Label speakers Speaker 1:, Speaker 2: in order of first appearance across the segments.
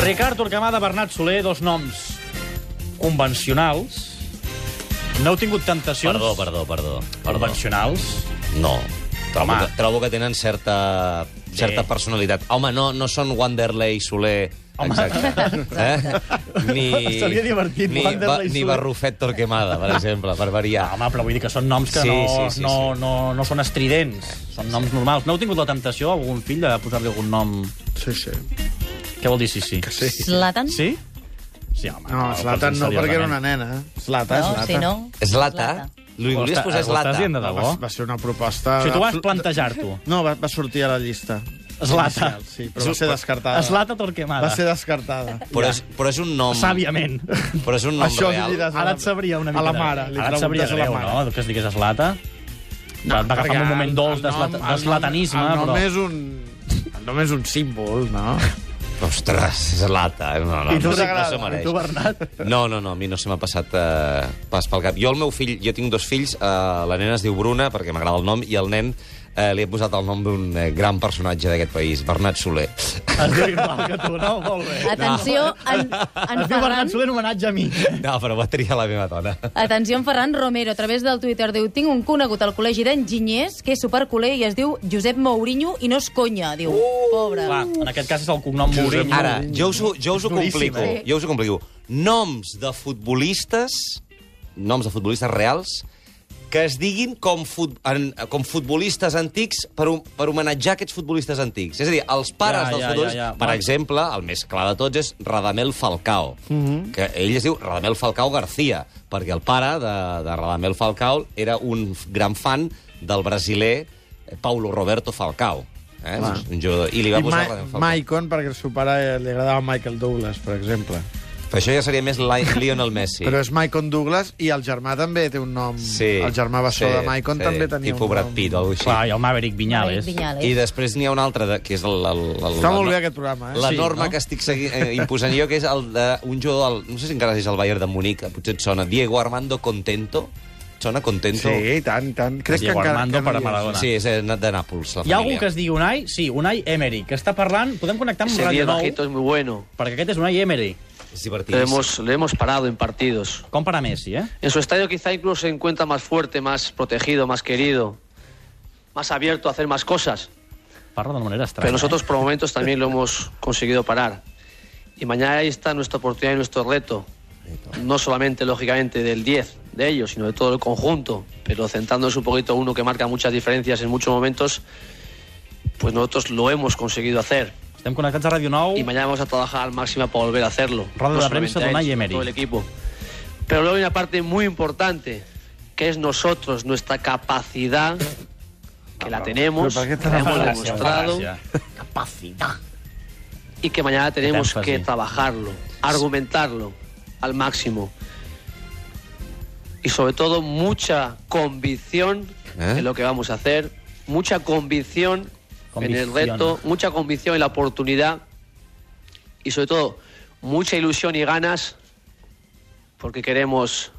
Speaker 1: Ricard Torquemada, Bernat Soler, dos noms convencionals. No heu tingut temptacions
Speaker 2: Perdó, perdó, perdó. perdó.
Speaker 1: convencionals?
Speaker 2: No. Trobo
Speaker 1: Home.
Speaker 2: que, trobo que tenen certa, certa personalitat. Home, no, no són Wanderlei, Soler...
Speaker 1: Home.
Speaker 2: Exacte. Eh? Ni,
Speaker 3: Seria divertit,
Speaker 2: ni,
Speaker 3: Wanderlei,
Speaker 2: Ba- ni
Speaker 3: Soler.
Speaker 2: Barrufet Torquemada, per exemple, per variar.
Speaker 1: Home, però vull dir que són noms que
Speaker 2: Sí,
Speaker 1: no,
Speaker 2: sí, sí,
Speaker 1: no,
Speaker 2: sí.
Speaker 1: No, no són estridents, són noms normals. No heu tingut la temptació, algun fill, de posar-li algun nom...
Speaker 3: Sí, sí.
Speaker 1: Què vol dir sí, sí?
Speaker 3: Que sí.
Speaker 4: Zlatan?
Speaker 1: Sí? Sí, home.
Speaker 3: No, Zlatan no, perquè era una nena. eh? Zlatan,
Speaker 4: No, si no...
Speaker 2: Slata? Li
Speaker 1: Ho
Speaker 2: volies
Speaker 1: està-
Speaker 2: posar
Speaker 1: ho estàs
Speaker 2: Slata?
Speaker 1: dient de debò?
Speaker 3: Va, va ser una proposta...
Speaker 1: Si tu vas
Speaker 3: absolu-
Speaker 1: plantejar-t'ho.
Speaker 3: No, va, va sortir a la llista.
Speaker 1: Zlata.
Speaker 3: Inicial, Sí, però va ser descartada.
Speaker 1: Zlata Torquemada.
Speaker 3: Va ser descartada.
Speaker 2: Però és, però és un nom...
Speaker 1: Sàviament.
Speaker 2: Però és un nom
Speaker 3: Això li
Speaker 2: real.
Speaker 3: diràs.
Speaker 1: Ara et sabria una mica
Speaker 3: A la
Speaker 1: de
Speaker 3: mare, li
Speaker 1: greu. Ara et sabria
Speaker 3: preguntes a la
Speaker 1: greu,
Speaker 3: mare.
Speaker 1: no? Que es digués Zlata. No, va, va
Speaker 3: perquè
Speaker 1: agafar un moment
Speaker 3: el-
Speaker 1: dolç
Speaker 3: el
Speaker 1: d'eslat-
Speaker 3: nom- el nom-
Speaker 1: d'eslatanisme,
Speaker 3: El nom
Speaker 1: però...
Speaker 3: és un... El nom és un símbol, no?
Speaker 2: Ostres, Slata. No, no,
Speaker 1: I tu,
Speaker 2: no, no
Speaker 1: Ricard,
Speaker 2: se mereix.
Speaker 1: i tu, Bernat?
Speaker 2: No, no, no, a mi no se m'ha passat eh, pas pel cap. Jo el meu fill, jo tinc dos fills, eh, la nena es diu Bruna, perquè m'agrada el nom, i el nen eh, li he posat el nom d'un eh, gran personatge d'aquest país, Bernat Soler.
Speaker 1: Es diu igual que tu, no? Molt bé.
Speaker 4: Atenció, en, en
Speaker 1: Es diu
Speaker 4: Ferran...
Speaker 1: Bernat Soler en homenatge a mi.
Speaker 2: No, però va triar la meva dona.
Speaker 4: Atenció, en Ferran Romero, a través del Twitter, diu Tinc un conegut al col·legi d'enginyers que és superculer i es diu Josep Mourinho i no és conya, diu. Pobre.
Speaker 1: Clar, en aquest cas és el cognom Mourinho.
Speaker 2: Ara, jo us, ho- jo us ho
Speaker 1: Duríssim,
Speaker 2: complico.
Speaker 4: eh?
Speaker 2: Jo us ho complico. Noms de futbolistes, noms de futbolistes reals, que es diguin com, fut, en, com futbolistes antics per, ho- per homenatjar aquests futbolistes antics. És a dir, els pares
Speaker 1: Ja,
Speaker 2: dels
Speaker 1: ja,
Speaker 2: futbolistes...
Speaker 1: ja, ja.
Speaker 2: Per
Speaker 1: Bueno.
Speaker 2: exemple, el més clar de tots és Radamel Falcao,
Speaker 1: Mhm.
Speaker 2: que ell es diu Radamel Falcao García, perquè el pare de, de Radamel Falcao era un f- gran fan del brasiler Paulo Roberto Falcao. Eh?
Speaker 3: Clar.
Speaker 2: Un jugador, I li va
Speaker 3: I
Speaker 2: posar
Speaker 3: Ma
Speaker 2: Radamel Falcao.
Speaker 3: Maicon, perquè el seu pare eh, li agradava Michael Douglas, per exemple.
Speaker 2: Però això ja seria més Li- Lionel Messi.
Speaker 3: Sí. Però és Maicon Douglas i el germà també té un nom.
Speaker 2: sí,
Speaker 3: el germà bessó
Speaker 2: sí,
Speaker 3: de Maicon
Speaker 2: sí,
Speaker 3: també tenia
Speaker 2: tipus
Speaker 3: un nom.
Speaker 2: Brad Pitt o alguna cosa
Speaker 1: Clar,
Speaker 2: així.
Speaker 1: i el Maverick Viñales.
Speaker 4: Vinyales.
Speaker 2: I després n'hi ha un altre, de, que és el, el, el,
Speaker 3: Està
Speaker 2: la
Speaker 3: molt
Speaker 2: no-
Speaker 3: bé aquest programa, eh?
Speaker 2: La
Speaker 1: Sí,
Speaker 2: norma
Speaker 1: no?
Speaker 2: que estic segui, eh, imposant jo, que és el d'un jugador, del, no sé si encara és el Bayern de Munic, potser et sona, Diego Armando Contento. Et sona Contento?
Speaker 3: Sí, i tant, i tant. Crec
Speaker 1: Diego
Speaker 3: que encara,
Speaker 1: Armando
Speaker 3: encara
Speaker 1: per
Speaker 3: hi és.
Speaker 1: Maradona.
Speaker 2: Sí, és eh, de Nàpols, la
Speaker 1: Hi ha algú que
Speaker 2: família.
Speaker 1: es digui Unai? Sí, Unai Emery, que està parlant... Podem connectar amb
Speaker 5: Ese
Speaker 1: Radio 9,
Speaker 5: bajito es muy bueno.
Speaker 1: perquè aquest és Unai Emery.
Speaker 2: És
Speaker 5: Le
Speaker 1: Eh,
Speaker 2: divertidíssim.
Speaker 5: hemos, le hemos parado en partidos.
Speaker 1: Com per a Messi, eh?
Speaker 5: En su estadio quizá incluso se encuentra más fuerte, más protegido, más querido, más abierto a hacer más cosas.
Speaker 1: Parla d'una manera estranya. eh?
Speaker 5: Pero nosotros por momentos también lo hemos conseguido parar. Y mañana ahí está nuestra oportunidad y nuestro reto. No solamente, lógicamente, del 10 de ellos, sino de todo el conjunto. Pero centrándonos un poquito uno que marca muchas diferencias en muchos momentos, pues nosotros lo hemos conseguido hacer.
Speaker 1: Eh? Estem connectats a Ràdio 9.
Speaker 5: y mañana vamos a trabajar al máximo para volver a hacerlo.
Speaker 1: Roda de
Speaker 5: No
Speaker 1: la
Speaker 5: solamente
Speaker 1: prensa
Speaker 5: a
Speaker 1: de
Speaker 5: él,
Speaker 1: Unai
Speaker 5: sino a
Speaker 1: Emery.
Speaker 5: Todo el equipo. Pero luego hay una parte muy importante, que es nosotros, nuestra capacidad, que la tenemos,
Speaker 3: ¿pero para qué
Speaker 5: que
Speaker 3: tan
Speaker 5: la hemos
Speaker 1: Fal·làcia,
Speaker 5: demostrado
Speaker 1: fal·làcia.
Speaker 5: y que mañana tenemos
Speaker 1: énfasis.
Speaker 5: que trabajarlo, argumentarlo al máximo. Y sobre todo mucha convicción
Speaker 2: ¿Eh?
Speaker 5: en lo que vamos a hacer, mucha convicción, en
Speaker 1: Convicción.
Speaker 5: el reto, mucha convicción en la oportunidad y sobre todo mucha ilusión y ganas porque queremos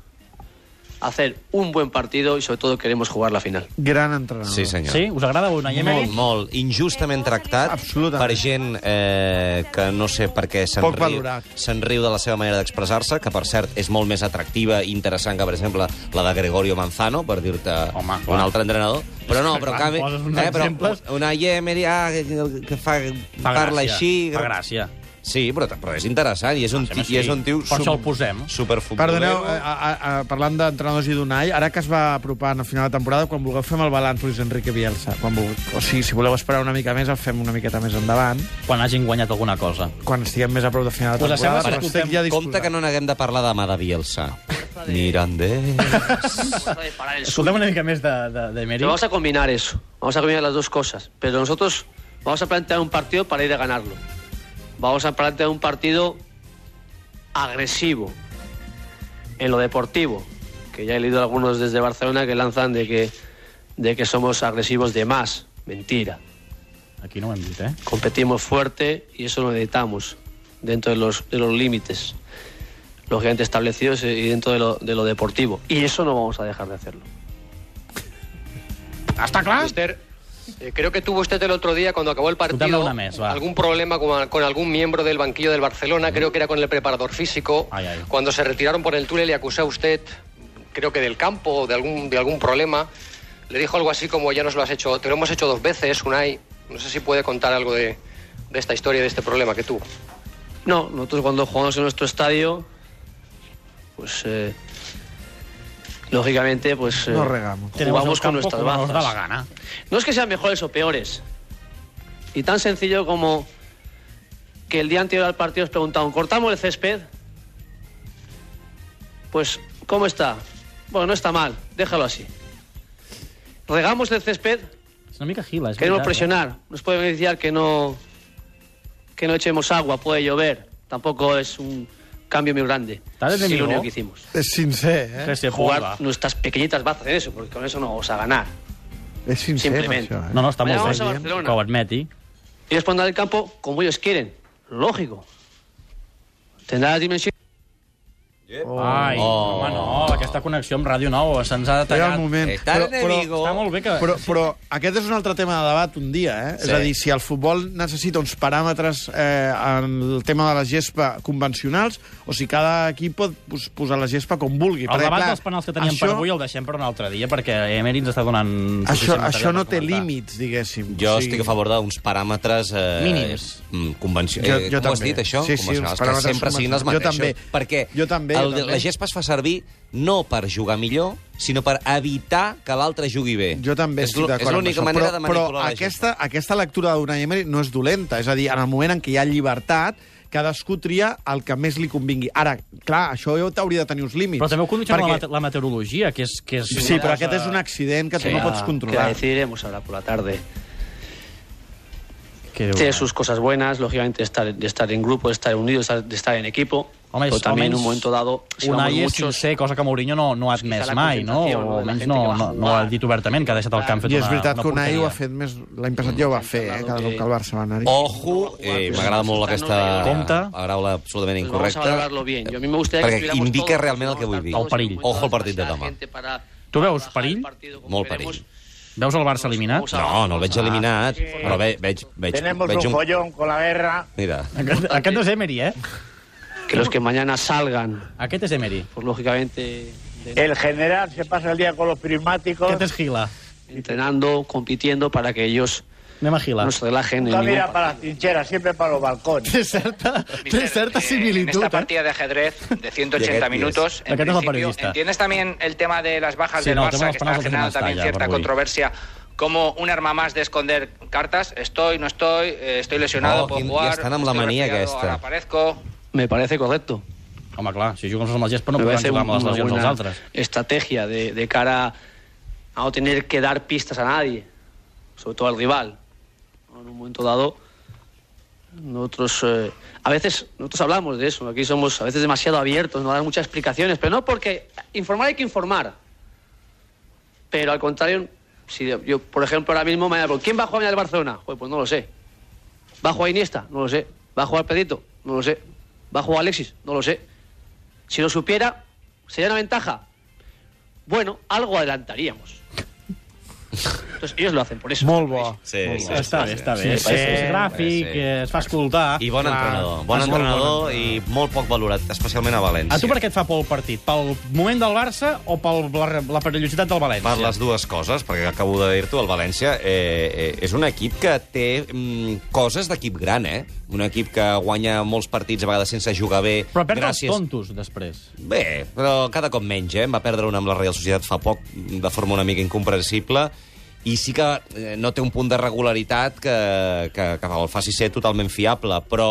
Speaker 5: hacer un buen partido y sobre todo queremos jugar la final.
Speaker 3: Gran entrenador.
Speaker 2: Sí, senyor.
Speaker 1: Sí? Us agrada Unai Emery?
Speaker 2: Molt, molt. Injustament tractat
Speaker 3: Absolutament.
Speaker 2: per gent eh, que no sé per què se'n
Speaker 3: Poc
Speaker 2: riu,
Speaker 3: valorat.
Speaker 2: se'n riu de la seva manera d'expressar-se, que per cert és molt més atractiva i interessant que, per exemple, la de Gregorio Manzano, per dir-te
Speaker 1: Home,
Speaker 2: un
Speaker 1: clar.
Speaker 2: altre entrenador. Però no, però en
Speaker 1: Clar,
Speaker 2: canvi...
Speaker 1: poses uns
Speaker 2: però
Speaker 1: exemples.
Speaker 2: una Emery, ah, que, que fa,
Speaker 1: Fa
Speaker 2: parla
Speaker 1: gràcia,
Speaker 2: així...
Speaker 1: Fa gràcia.
Speaker 2: Sí, però, però és interessant i és un,
Speaker 1: sembla
Speaker 2: ti, i és un tio
Speaker 1: així. Per això el posem.
Speaker 2: superfutbolero.
Speaker 3: Perdoneu, eh, a, a, a, parlant d'entrenadors i d'Unai, ara que es va apropant a final de temporada, quan vulgueu fem el balanç Luis Enrique Bielsa. Quan vulgueu, o sigui, si voleu esperar una mica més, el fem una miqueta més endavant,
Speaker 1: Quan hagin guanyat alguna cosa.
Speaker 3: quan estiguem més a prop de final de
Speaker 1: Us
Speaker 3: temporada,
Speaker 1: sembla que
Speaker 3: però estic
Speaker 1: escoltem-
Speaker 3: ja
Speaker 2: Compte
Speaker 3: disposat.
Speaker 2: que no n'haguem de parlar demà de Bielsa. Mirandés...
Speaker 5: Cosa de parar el
Speaker 1: Escoltem una mica més d'Emery. De,
Speaker 5: Pero
Speaker 1: d'Emery.
Speaker 5: vamos a combinar eso. Vamos a combinar las dos cosas. Pero nosotros vamos a plantear un partido para ir a ganarlo. Vamos a plantear un partido agresivo en lo deportivo. Que ya he leído algunos desde Barcelona que lanzan de que, de que somos agresivos de más. Mentira.
Speaker 1: Aquí no ho hem dit, eh?
Speaker 5: Competimos fuerte y eso lo necesitamos dentro de los, de los límites lógicamente establecidos y dentro de lo, de lo deportivo. Y eso no vamos a dejar de hacerlo.
Speaker 1: Està clar?
Speaker 6: Eh, Creo que tuvo usted el otro día, cuando acabó el
Speaker 1: Dame
Speaker 6: partido,
Speaker 1: una mes, va.
Speaker 6: algún problema con, con algún miembro del banquillo del Barcelona, creo que era con el preparador físico.
Speaker 1: Ay, ay.
Speaker 6: Cuando se retiraron por el túnel y acusó a usted, creo que del campo o de algún, de algún problema. Le dijo algo así como, ya nos lo has hecho, te lo hemos hecho dos veces, Unai. No sé si puede contar algo de, de esta historia, de este problema que tuvo.
Speaker 5: No, nosotros cuando jugamos en nuestro estadio, pues eh, lógicamente, pues eh,
Speaker 3: No regamos.
Speaker 1: Tenemos
Speaker 5: jugamos
Speaker 1: el
Speaker 5: con
Speaker 1: campo
Speaker 5: nuestras
Speaker 1: como
Speaker 5: bajas.
Speaker 1: nos da la gana.
Speaker 5: No es que sean mejores o peores. Y tan sencillo como que el día anterior al partido os preguntaban, ¿cortamos el césped? Pues, ¿cómo está? Bueno, no está mal, déjalo así. ¿Regamos el césped?
Speaker 1: És una mica gila, és veritat,
Speaker 5: Queremos
Speaker 1: eh?
Speaker 5: presionar. Nos puede beneficiar que no, que no echemos agua, puede llover. Tampoco es un cambio muy grande.
Speaker 1: Está desde
Speaker 5: Sí,
Speaker 1: Miró.
Speaker 5: lo único que hicimos.
Speaker 3: És sincer,
Speaker 1: Eh?
Speaker 3: eh?
Speaker 1: Que se
Speaker 5: Jugar
Speaker 1: jugar...
Speaker 5: nuestras pequeñitas bazas en eso, porque con eso no vamos a ganar.
Speaker 3: És sincer,
Speaker 5: Simplement.
Speaker 3: això, eh?
Speaker 1: No, no, està
Speaker 5: Vaya,
Speaker 1: molt
Speaker 5: vamos a
Speaker 1: bé.
Speaker 5: Barcelona.
Speaker 1: Que ho admeti.
Speaker 5: Ellos pondrán el campo como ellos quieren. Lógico. Tendrá la dimensión.
Speaker 1: Oh. Ai, oh. home, no, aquesta connexió amb Ràdio 9 se'ns ha
Speaker 3: Era el
Speaker 1: detallat.
Speaker 3: moment.
Speaker 2: Está el enemigo.
Speaker 1: Està molt bé que...
Speaker 3: Però, però aquest és un altre tema de debat un dia, eh? Sí.
Speaker 2: Sí.
Speaker 3: És a dir, si el futbol necessita uns paràmetres eh, en el tema de la gespa convencionals o si cada equip pot pos posar la gespa com vulgui.
Speaker 1: El
Speaker 3: Perquè,
Speaker 1: debat
Speaker 3: clar,
Speaker 1: dels penals que teníem
Speaker 3: això,
Speaker 1: per avui el deixem per un altre dia, perquè Emery ens està donant...
Speaker 3: Això,
Speaker 1: suficient material
Speaker 3: això no
Speaker 1: per
Speaker 3: té
Speaker 1: comentar.
Speaker 3: límits, diguéssim.
Speaker 2: Jo sí. estic a favor d'uns paràmetres... Eh,
Speaker 1: Mínims.
Speaker 2: mm, Convenci...
Speaker 3: Jo-
Speaker 2: eh,
Speaker 3: jo
Speaker 2: com ho has
Speaker 3: també.
Speaker 2: dit, això?
Speaker 3: Sí, sí,
Speaker 2: Convencionals,
Speaker 3: uns
Speaker 2: que
Speaker 3: paràmetres
Speaker 2: sempre siguin els
Speaker 3: convencionals. Jo
Speaker 2: mateixos.
Speaker 3: també.
Speaker 2: Perquè
Speaker 3: Jo també,
Speaker 2: el,
Speaker 3: jo també.
Speaker 2: la gespa es fa servir no per jugar millor, sinó per evitar que l'altre jugui bé.
Speaker 3: Jo també
Speaker 2: és,
Speaker 3: estic
Speaker 2: lo-
Speaker 3: d'acord
Speaker 2: És
Speaker 3: amb
Speaker 2: l'única
Speaker 3: això,
Speaker 2: manera
Speaker 3: però,
Speaker 2: de manipular
Speaker 3: però
Speaker 2: la gespa.
Speaker 3: aquesta, aquesta lectura d'Unai Emery no és dolenta. És a dir, en el moment en què hi ha llibertat, cadascú tria el que més li convingui. Ara, clar, això ja t'hauria de tenir uns límits.
Speaker 1: Però també ho condiciona
Speaker 3: perquè-
Speaker 1: la, mete- la meteorologia, que és... Que és
Speaker 3: Sí,
Speaker 1: una
Speaker 3: però
Speaker 1: cosa-
Speaker 3: aquest és un accident que tu
Speaker 2: Sí,
Speaker 3: no
Speaker 2: ah,
Speaker 3: pots
Speaker 5: Que la
Speaker 3: controlar.
Speaker 5: decidiremos ahora por la tarde.
Speaker 1: Que Déu
Speaker 5: Tiene sus cosas buenas, lógicamente, de estar, de estar en grupo, de estar unidos, de estar- de estar en equipo.
Speaker 1: Home,
Speaker 5: pero
Speaker 1: és,
Speaker 5: también en
Speaker 1: almenys
Speaker 5: un momento dado, si vamos
Speaker 1: Unai és
Speaker 5: muchos,
Speaker 1: sincer, cosa que Mourinho no, no ha admès
Speaker 5: la
Speaker 1: mai, no?
Speaker 5: concentració, no,
Speaker 1: O
Speaker 5: de la
Speaker 1: almenys
Speaker 5: gent
Speaker 1: no,
Speaker 5: que va
Speaker 1: no, no ho ha
Speaker 5: jugar.
Speaker 1: dit obertament, que ha deixat el camp fet
Speaker 3: I
Speaker 1: una,
Speaker 3: és veritat
Speaker 1: una
Speaker 3: que Unai ho
Speaker 1: porqueria.
Speaker 3: ha fet més... L'any passat ja ho va fer, eh,
Speaker 5: sembla
Speaker 3: cada
Speaker 5: que-
Speaker 3: cop que el Barça va anar-hi.
Speaker 2: Ojo, eh, m'agrada molt aquesta
Speaker 1: Compte.
Speaker 2: paraula absolutament
Speaker 5: Pues
Speaker 2: incorrecta.
Speaker 5: Doncs Vamos a valorarlo bien. Yo a mí me gustaría que
Speaker 2: perquè
Speaker 5: estuviéramos
Speaker 2: indica
Speaker 5: todos,
Speaker 2: realment el
Speaker 5: ¿no?
Speaker 2: que vull dir.
Speaker 5: Estar
Speaker 1: El
Speaker 5: todos
Speaker 1: perill.
Speaker 5: en movimiento,
Speaker 2: Ojo al partit de
Speaker 5: demasiada
Speaker 2: demà.
Speaker 5: gente para-
Speaker 1: Tu
Speaker 5: para
Speaker 1: veus
Speaker 5: bajar
Speaker 1: perill?
Speaker 5: el partido como
Speaker 2: Molt
Speaker 5: queremos.
Speaker 2: perill.
Speaker 1: Veus el Barça eliminat?
Speaker 2: No, no el veig eliminat, però ve, veig, veig,
Speaker 7: Tenemos
Speaker 2: veig
Speaker 7: un follón con la guerra.
Speaker 2: Mira,
Speaker 1: Aquest, aquest no és Emery, eh?
Speaker 5: Que los que mañana salgan,
Speaker 1: Aquest és Emery.
Speaker 5: pues lógicamente, de-
Speaker 7: El general se pasa el día con los prismáticos.
Speaker 1: Aquest és Gila.
Speaker 5: entrenando, compitiendo, para que ellos
Speaker 1: Anem a Gila.
Speaker 5: no se relajen. en
Speaker 7: Nunca
Speaker 5: ningún
Speaker 7: mira para las trincheras, siempre para los balcones.
Speaker 3: Té certa, té certa
Speaker 8: En
Speaker 3: similitud,
Speaker 8: esta
Speaker 3: eh?
Speaker 8: partida de ajedrez de 180
Speaker 2: Lleguet,
Speaker 8: minutos, en
Speaker 1: Lleguet es el
Speaker 8: principio,
Speaker 1: periodista.
Speaker 8: ¿entiendes también el tema de las bajas
Speaker 1: Sí,
Speaker 8: del
Speaker 1: no, el tema
Speaker 8: Barça,
Speaker 1: de las
Speaker 8: que
Speaker 1: palabras
Speaker 8: está
Speaker 1: es una
Speaker 8: generando también
Speaker 1: estalla,
Speaker 8: cierta
Speaker 1: Barbuy.
Speaker 8: controversia, como un arma más de esconder cartas? Estoy, no estoy, eh, estoy lesionado,
Speaker 2: Oh,
Speaker 8: puedo
Speaker 2: quin- ja
Speaker 8: jugar,
Speaker 2: estan amb la
Speaker 8: estoy
Speaker 2: mania
Speaker 8: resfriado,
Speaker 2: aquesta.
Speaker 8: ahora aparezco...
Speaker 5: Me parece correcto.
Speaker 1: Home, clar, si juguen sols amb el Gespa no
Speaker 5: Me
Speaker 1: podran
Speaker 5: parece
Speaker 1: jugar amb les
Speaker 5: una
Speaker 1: lesions dels
Speaker 5: buena
Speaker 1: altres.
Speaker 5: estrategia de, de cara a no tener que dar pistas a nadie, sobre todo al rival. En un momento dado, nosotros eh, a veces nosotros hablamos de eso. Aquí somos a veces demasiado abiertos, no dar muchas explicaciones, pero no porque informar hay que informar. Pero al contrario, si yo, yo, por ejemplo ahora mismo mañana, ¿quién va a jugar mañana al Barcelona? Joder, pues no lo sé. ¿Va a jugar Iniesta? No lo sé. ¿Va a jugar Pedrito? No lo sé. ¿Va a jugar Alexis? No lo sé. Si lo supiera, sería una ventaja. Bueno, algo adelantaríamos. Entonces, ellos lo hacen por eso.
Speaker 3: Molt bo.
Speaker 2: sí, eh, sí.
Speaker 1: Està bé, està bé.
Speaker 3: Sí, sí.
Speaker 1: És gràfic,
Speaker 2: Sí.
Speaker 1: eh, es fa escoltar.
Speaker 2: I bon
Speaker 3: Clar,
Speaker 2: entrenador.
Speaker 3: és
Speaker 2: Bon
Speaker 3: molt bon
Speaker 2: entrenador i molt poc valorat, especialment a València.
Speaker 1: A tu per què et fa por el partit? Pel moment del Barça o per la, la perillositat del València?
Speaker 2: Per les dues coses, perquè acabo de dir-t'ho, el València eh, eh, és un equip que té mm, coses d'equip gran, eh? Un equip que guanya molts partits a vegades sense jugar bé.
Speaker 1: Però perd els
Speaker 2: gràcies-
Speaker 1: tontos, després.
Speaker 2: Bé, però cada cop menys, eh? En Va perdre una amb la Real Societat fa poc, de forma una mica incomprensible, i sí que eh, no té un punt de regularitat que, que, que el faci ser totalment fiable, però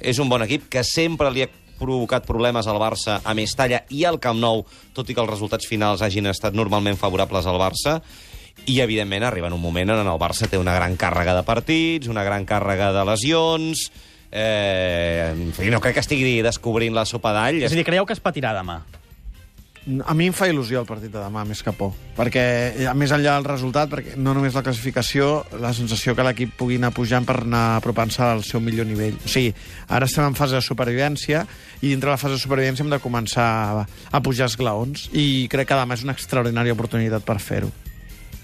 Speaker 2: és un bon equip que sempre li ha provocat problemes al Barça a Mestalla i al Camp Nou, tot i que els resultats finals hagin estat normalment favorables al Barça, i, evidentment, arriba en un moment en el Barça té una gran càrrega de partits, una gran càrrega de lesions... Eh, en fi, no crec que estigui descobrint la sopa d'all.
Speaker 1: És a dir, creieu que es patirà demà?
Speaker 3: A mi em fa il·lusió el partit de demà, més que por. Perquè, eh, més enllà del resultat, perquè no només la classificació, la sensació que l'equip pugui anar pujant per anar apropant-se al seu millor nivell. O sigui, ara estem en fase de supervivència i dintre la fase de supervivència hem de començar a, a pujar esglaons i crec que demà és una extraordinària oportunitat per fer-ho.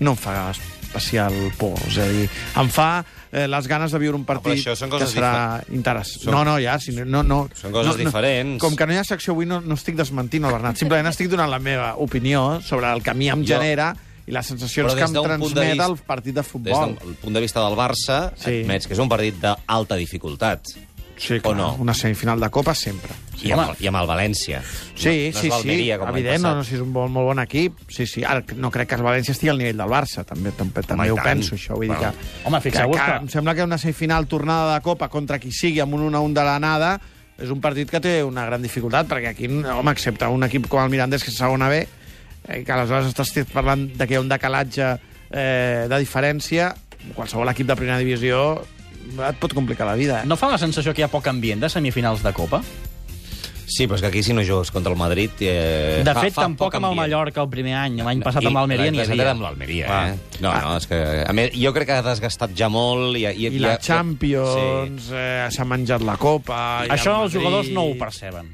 Speaker 3: No em fa ganes. especial por. És a dir, em fa eh, les ganes de viure un partit
Speaker 2: això són coses
Speaker 3: que serà interès.
Speaker 2: Són-
Speaker 3: No, no, ja, si no, no, no,
Speaker 2: Són coses
Speaker 3: no, no,
Speaker 2: diferents.
Speaker 3: Com que no hi ha secció avui, no, no estic desmentint el Bernat, simplement estic donant la meva opinió sobre el que a mi em
Speaker 2: Jo-
Speaker 3: genera i les sensacions
Speaker 2: Però
Speaker 3: que
Speaker 2: des
Speaker 3: em
Speaker 2: d'un punt de
Speaker 3: transmet
Speaker 2: vist-
Speaker 3: el partit de
Speaker 2: Des
Speaker 3: futbol.
Speaker 2: del punt de vista del Barça,
Speaker 3: Sí.
Speaker 2: sí. admets que és un partit d'alta dificultat. o
Speaker 3: Sí, clar,
Speaker 2: no?
Speaker 3: una semifinal de Copa sempre.
Speaker 2: I, amb, el- I amb el València.
Speaker 3: Sí,
Speaker 2: no, no
Speaker 3: sí,
Speaker 2: és l'Almeria,
Speaker 3: sí,
Speaker 2: com l'any
Speaker 3: evident, no,
Speaker 2: passat.
Speaker 3: no, si és un bon, molt bon equip. Sí, sí, ara no crec que el València estigui al nivell del Barça, també, també, també
Speaker 2: i
Speaker 3: ho
Speaker 2: tant.
Speaker 3: penso, això. Vull dir que,
Speaker 2: Bueno,
Speaker 1: home, fixeu-vos
Speaker 3: que,
Speaker 1: que-
Speaker 3: Em sembla que una semifinal tornada de Copa contra qui sigui amb un 1-1 de l'anada és un partit que té una gran dificultat, perquè aquí, home, excepte un equip com el Mirandés, que és segona B, eh, que aleshores estàs parlant de que hi ha un decalatge eh, de diferència, qualsevol equip de primera divisió et pot complicar la vida. Eh?
Speaker 1: No fa la sensació que hi ha poc ambient de semifinals de Copa?
Speaker 2: Sí, però és que aquí si no jugues contra el Madrid... Eh,
Speaker 1: De
Speaker 2: fa-
Speaker 1: fet,
Speaker 2: fa
Speaker 1: tampoc
Speaker 2: poc
Speaker 1: amb el
Speaker 2: ambient.
Speaker 1: Mallorca el primer any. L'any passat amb l'Almeria n'hi
Speaker 2: l'any passat
Speaker 1: havia.
Speaker 2: era amb l'Almeria,
Speaker 1: Clar.
Speaker 2: eh? No, no, és que... A més, jo crec que ha desgastat ja molt... I, i,
Speaker 3: I la Champions, eh, s'ha menjat la Copa... i
Speaker 1: Això
Speaker 3: el
Speaker 1: els jugadors
Speaker 3: Madrid.
Speaker 1: no ho perceben.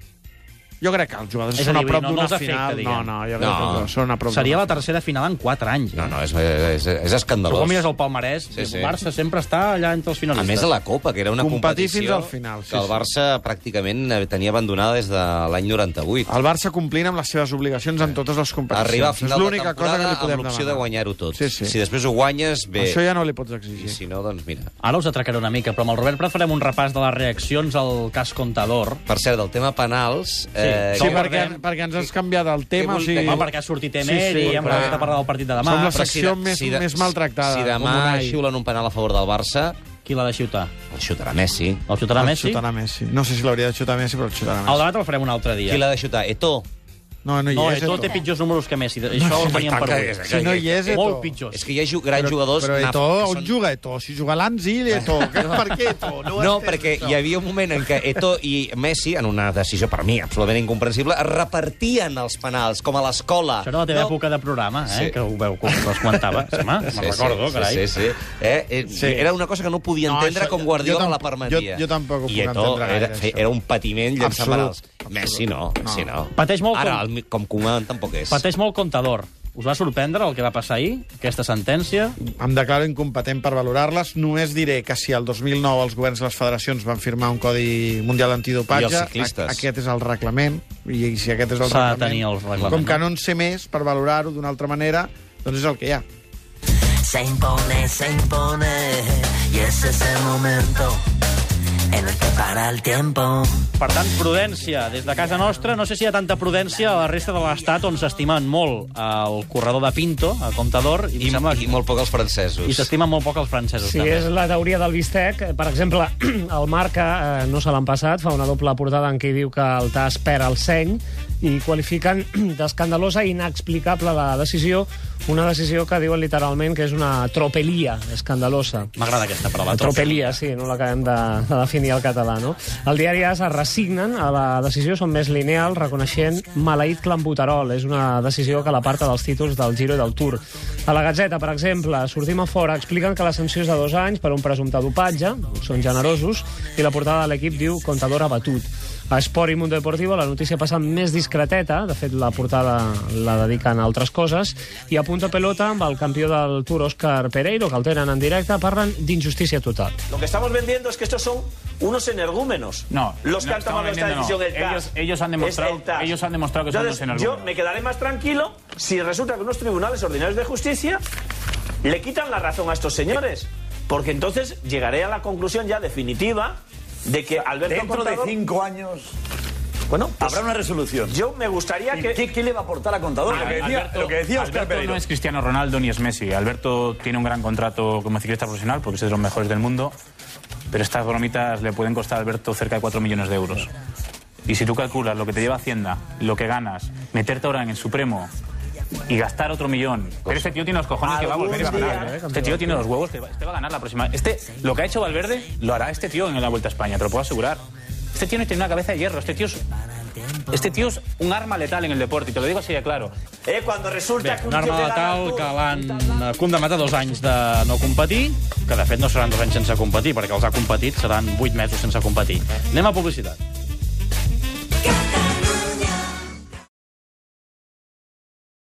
Speaker 3: Jo crec que els jugadors
Speaker 1: És a
Speaker 3: són a
Speaker 1: dir,
Speaker 3: prop
Speaker 1: no- no
Speaker 3: d'una
Speaker 1: els afecta,
Speaker 3: final.
Speaker 1: diguem.
Speaker 3: no, no, jo crec
Speaker 2: No.
Speaker 3: que són a prop
Speaker 1: Seria la
Speaker 3: d'una
Speaker 1: tercera final en 4 anys.
Speaker 2: Sí. No, no, és, és, és
Speaker 1: Tu
Speaker 2: escandalós.
Speaker 1: quan mires el palmarès,
Speaker 2: Sí,
Speaker 1: sí,
Speaker 2: sí.
Speaker 1: sí. el Barça sempre està allà entre els
Speaker 2: A
Speaker 1: finalistes.
Speaker 2: més, a la Copa, que era una
Speaker 3: Competir
Speaker 2: competició...
Speaker 3: fins al final, sí,
Speaker 2: que el
Speaker 3: sí.
Speaker 2: Barça pràcticament eh, tenia abandonada des de l'any 98.
Speaker 3: final. El Barça complint amb les seves obligacions en totes les competicions.
Speaker 2: Arribar a final
Speaker 3: Ah, és
Speaker 2: de
Speaker 3: l'única cosa que
Speaker 2: temporada
Speaker 3: li podem
Speaker 2: amb l'opció de
Speaker 3: demanar.
Speaker 2: guanyar-ho tot.
Speaker 3: Sí, sí.
Speaker 2: Si després ho guanyes, bé.
Speaker 3: Això ja no li pots
Speaker 2: I
Speaker 3: exigir.
Speaker 2: si no, doncs mira.
Speaker 1: Ara us atracaré una mica, però amb el Robert Prat farem un repàs de les reaccions al cas Contador.
Speaker 2: Per cert, del tema penals... eh,
Speaker 1: Sí,
Speaker 3: Sí,
Speaker 1: no
Speaker 3: perquè,
Speaker 1: guardem.
Speaker 3: perquè ens has canviat el tema.
Speaker 2: vol-
Speaker 3: O sigui,
Speaker 1: Home, perquè ha sortit
Speaker 3: Sí,
Speaker 1: Emery, sí,
Speaker 3: sí,
Speaker 1: sí, hem
Speaker 3: però-
Speaker 1: arribat a parlar del partit de demà.
Speaker 3: Som la
Speaker 1: Però
Speaker 2: si
Speaker 3: secció
Speaker 2: de-
Speaker 3: més-
Speaker 2: de-
Speaker 3: més maltractada,
Speaker 2: Si
Speaker 3: com
Speaker 2: demà
Speaker 3: Unai.
Speaker 2: xiulen un penal a favor del Barça,
Speaker 1: Qui l'ha de xutar?
Speaker 2: el xutarà Messi.
Speaker 1: El xutarà
Speaker 3: el
Speaker 1: Messi?
Speaker 3: xutarà Messi. No sé si l'hauria de xutar Messi, però el xutarà
Speaker 1: El
Speaker 3: Messi.
Speaker 1: debat el farem un altre dia.
Speaker 2: Qui l'ha de xutar? Eto.
Speaker 3: No, no hi
Speaker 1: No,
Speaker 3: és.
Speaker 1: Eto'o
Speaker 3: Eto'o.
Speaker 1: té pitjors números que Messi. Això ho teníem per avui.
Speaker 2: és-
Speaker 3: Si no hi és, eh, Eto'o.
Speaker 1: Molt pitjors.
Speaker 2: És que hi ha ju- grans jugadors...
Speaker 3: Però
Speaker 2: naf-
Speaker 3: Eto,
Speaker 2: que
Speaker 3: on
Speaker 2: són-
Speaker 3: juga Eto? Si juga a l'Anzil, Eto. Per què Eto? No, ho
Speaker 2: No,
Speaker 3: entenc,
Speaker 2: perquè
Speaker 3: això.
Speaker 2: hi havia un moment en què Eto i Messi, en una decisió per mi absolutament incomprensible, es repartien els penals, com a l'escola.
Speaker 1: Això era la teva època de programa, eh?
Speaker 2: Sí.
Speaker 1: que ho veu, que us comentava. Sí, home, me'n recordo,
Speaker 2: sí,
Speaker 1: carai.
Speaker 2: Sí, sí, sí. Eh, eh, sí. Era una cosa que no podia
Speaker 3: No,
Speaker 2: entendre
Speaker 3: això-
Speaker 2: com Guardiola
Speaker 3: jo
Speaker 2: la
Speaker 3: tampoc-
Speaker 2: permetia.
Speaker 3: jo- jo tampoc ho
Speaker 2: I
Speaker 3: puc
Speaker 2: Eto'o
Speaker 3: entendre gaire,
Speaker 2: Era, fe-
Speaker 3: això.
Speaker 2: era un patiment llançant
Speaker 3: Absolut.
Speaker 2: penals. Messi no, Messi no.
Speaker 1: Pateix molt
Speaker 2: Ara,
Speaker 1: com-
Speaker 2: el mi- com Koeman tampoc és.
Speaker 1: Pateix molt Contador. Us va sorprendre el que va passar ahir, aquesta sentència?
Speaker 3: Em declaro incompetent per valorar-les. Només diré que si el 2009 els governs i les federacions van firmar un codi mundial
Speaker 2: I
Speaker 3: antidopatge,
Speaker 2: els ciclistes.
Speaker 3: a- aquest és el reglament, i si aquest és el
Speaker 1: S'ha de
Speaker 3: reglament...
Speaker 1: tenir el reglament,
Speaker 3: Com que
Speaker 1: no?
Speaker 3: no en sé més per valorar-ho d'una altra manera, doncs és el que hi ha.
Speaker 9: Se impone, se impone, y ese es el momento en el que para el tiempo.
Speaker 1: Per tant, prudència. Des de casa nostra, no sé si hi ha tanta prudència a la resta de l'estat on s'estimen molt eh, el corredor de Pinto, a Contador, i,
Speaker 2: I,
Speaker 1: em sembla,
Speaker 2: I molt poc els francesos.
Speaker 1: i s'estimen molt poc els francesos.
Speaker 10: Sí,
Speaker 1: també.
Speaker 10: és la teoria del bistec. Per exemple, el Marca, eh, no se l'han passat, fa una doble portada en què diu que el TAS perd el seny i qualifiquen d'escandalosa i inexplicable la decisió, una decisió que diuen literalment que és una tropelia escandalosa.
Speaker 1: M'agrada aquesta paraula.
Speaker 10: La tropelia, sí, no l'acabem de, de definir al català, no? El diari AS es resignen a la decisió, són més lineals, reconeixent maleït clambuterol. És una decisió que l'aparta dels títols del Giro i del Tour. A la Gazzetta, per exemple, sortim a fora, expliquen que la sanció és de dos anys per un presumpte dopatge, són generosos, i la portada de l'equip diu contador abatut. A Esport i Mundo Deportivo la notícia passa més discreteta, de fet la portada la dediquen a altres coses, i a punta pelota amb el campió del Tour Òscar Pereiro, que el tenen en directe, parlen d'injustícia total.
Speaker 11: Lo que estamos vendiendo es que estos son unos energúmenos.
Speaker 12: No,
Speaker 11: los que
Speaker 12: no
Speaker 11: han tomado
Speaker 12: estamos
Speaker 11: esta
Speaker 12: vendiendo,
Speaker 11: decisión
Speaker 12: no.
Speaker 11: el TAS.
Speaker 12: Ellos- ellos han
Speaker 11: Es
Speaker 12: demostrado-
Speaker 11: el TAS.
Speaker 12: ellos han demostrado que son
Speaker 11: Entonces,
Speaker 12: unos energúmenos.
Speaker 11: Yo me quedaré más tranquilo si resulta que unos tribunales ordinarios de justicia le quitan la razón a estos señores, porque entonces llegaré a la conclusión ya definitiva de que Alberto
Speaker 12: Dentro de
Speaker 11: Contador-
Speaker 12: cinco años
Speaker 11: bueno, pues,
Speaker 12: habrá una resolución.
Speaker 11: yo me gustaría
Speaker 12: ¿Y
Speaker 11: que
Speaker 12: ¿Qué, qué le va a aportar a Contador?
Speaker 11: Lo que decía-
Speaker 12: Alberto,
Speaker 11: lo que decía Óscar
Speaker 12: Alberto
Speaker 11: Pereiro.
Speaker 12: no es Cristiano Ronaldo ni es Messi. Alberto tiene un gran contrato como ciclista profesional porque es de los mejores del mundo. Pero estas bromitas le pueden costar a Alberto cerca de 4 millones de euros. Y si tú calculas lo que te lleva Hacienda, lo que ganas, meterte ahora en el Supremo y gastar otro millón. Pero este tío tiene los cojones que va a volver a
Speaker 11: Algún
Speaker 10: Ah,
Speaker 11: día,
Speaker 10: eh,
Speaker 12: ganar. Este tío tiene los huevos que va, este va a ganar la próxima. Este, lo que ha hecho Valverde, lo hará este tío en la Vuelta a España, te lo puedo asegurar. Este tío no tiene una cabeza de hierro. Este tío es, este tío es un arma letal en el deporte, y te lo digo así de claro.
Speaker 11: eh, cuando resulta
Speaker 1: Bé,
Speaker 11: que un
Speaker 1: una
Speaker 11: tío
Speaker 1: arma
Speaker 11: te gana el
Speaker 1: letal
Speaker 11: Tour-
Speaker 1: que l'han condemnat a dos anys de no competir, que de fet no seran dos anys sense competir, perquè els ha competit, seran vuit mesos sense competir. Anem a publicitat.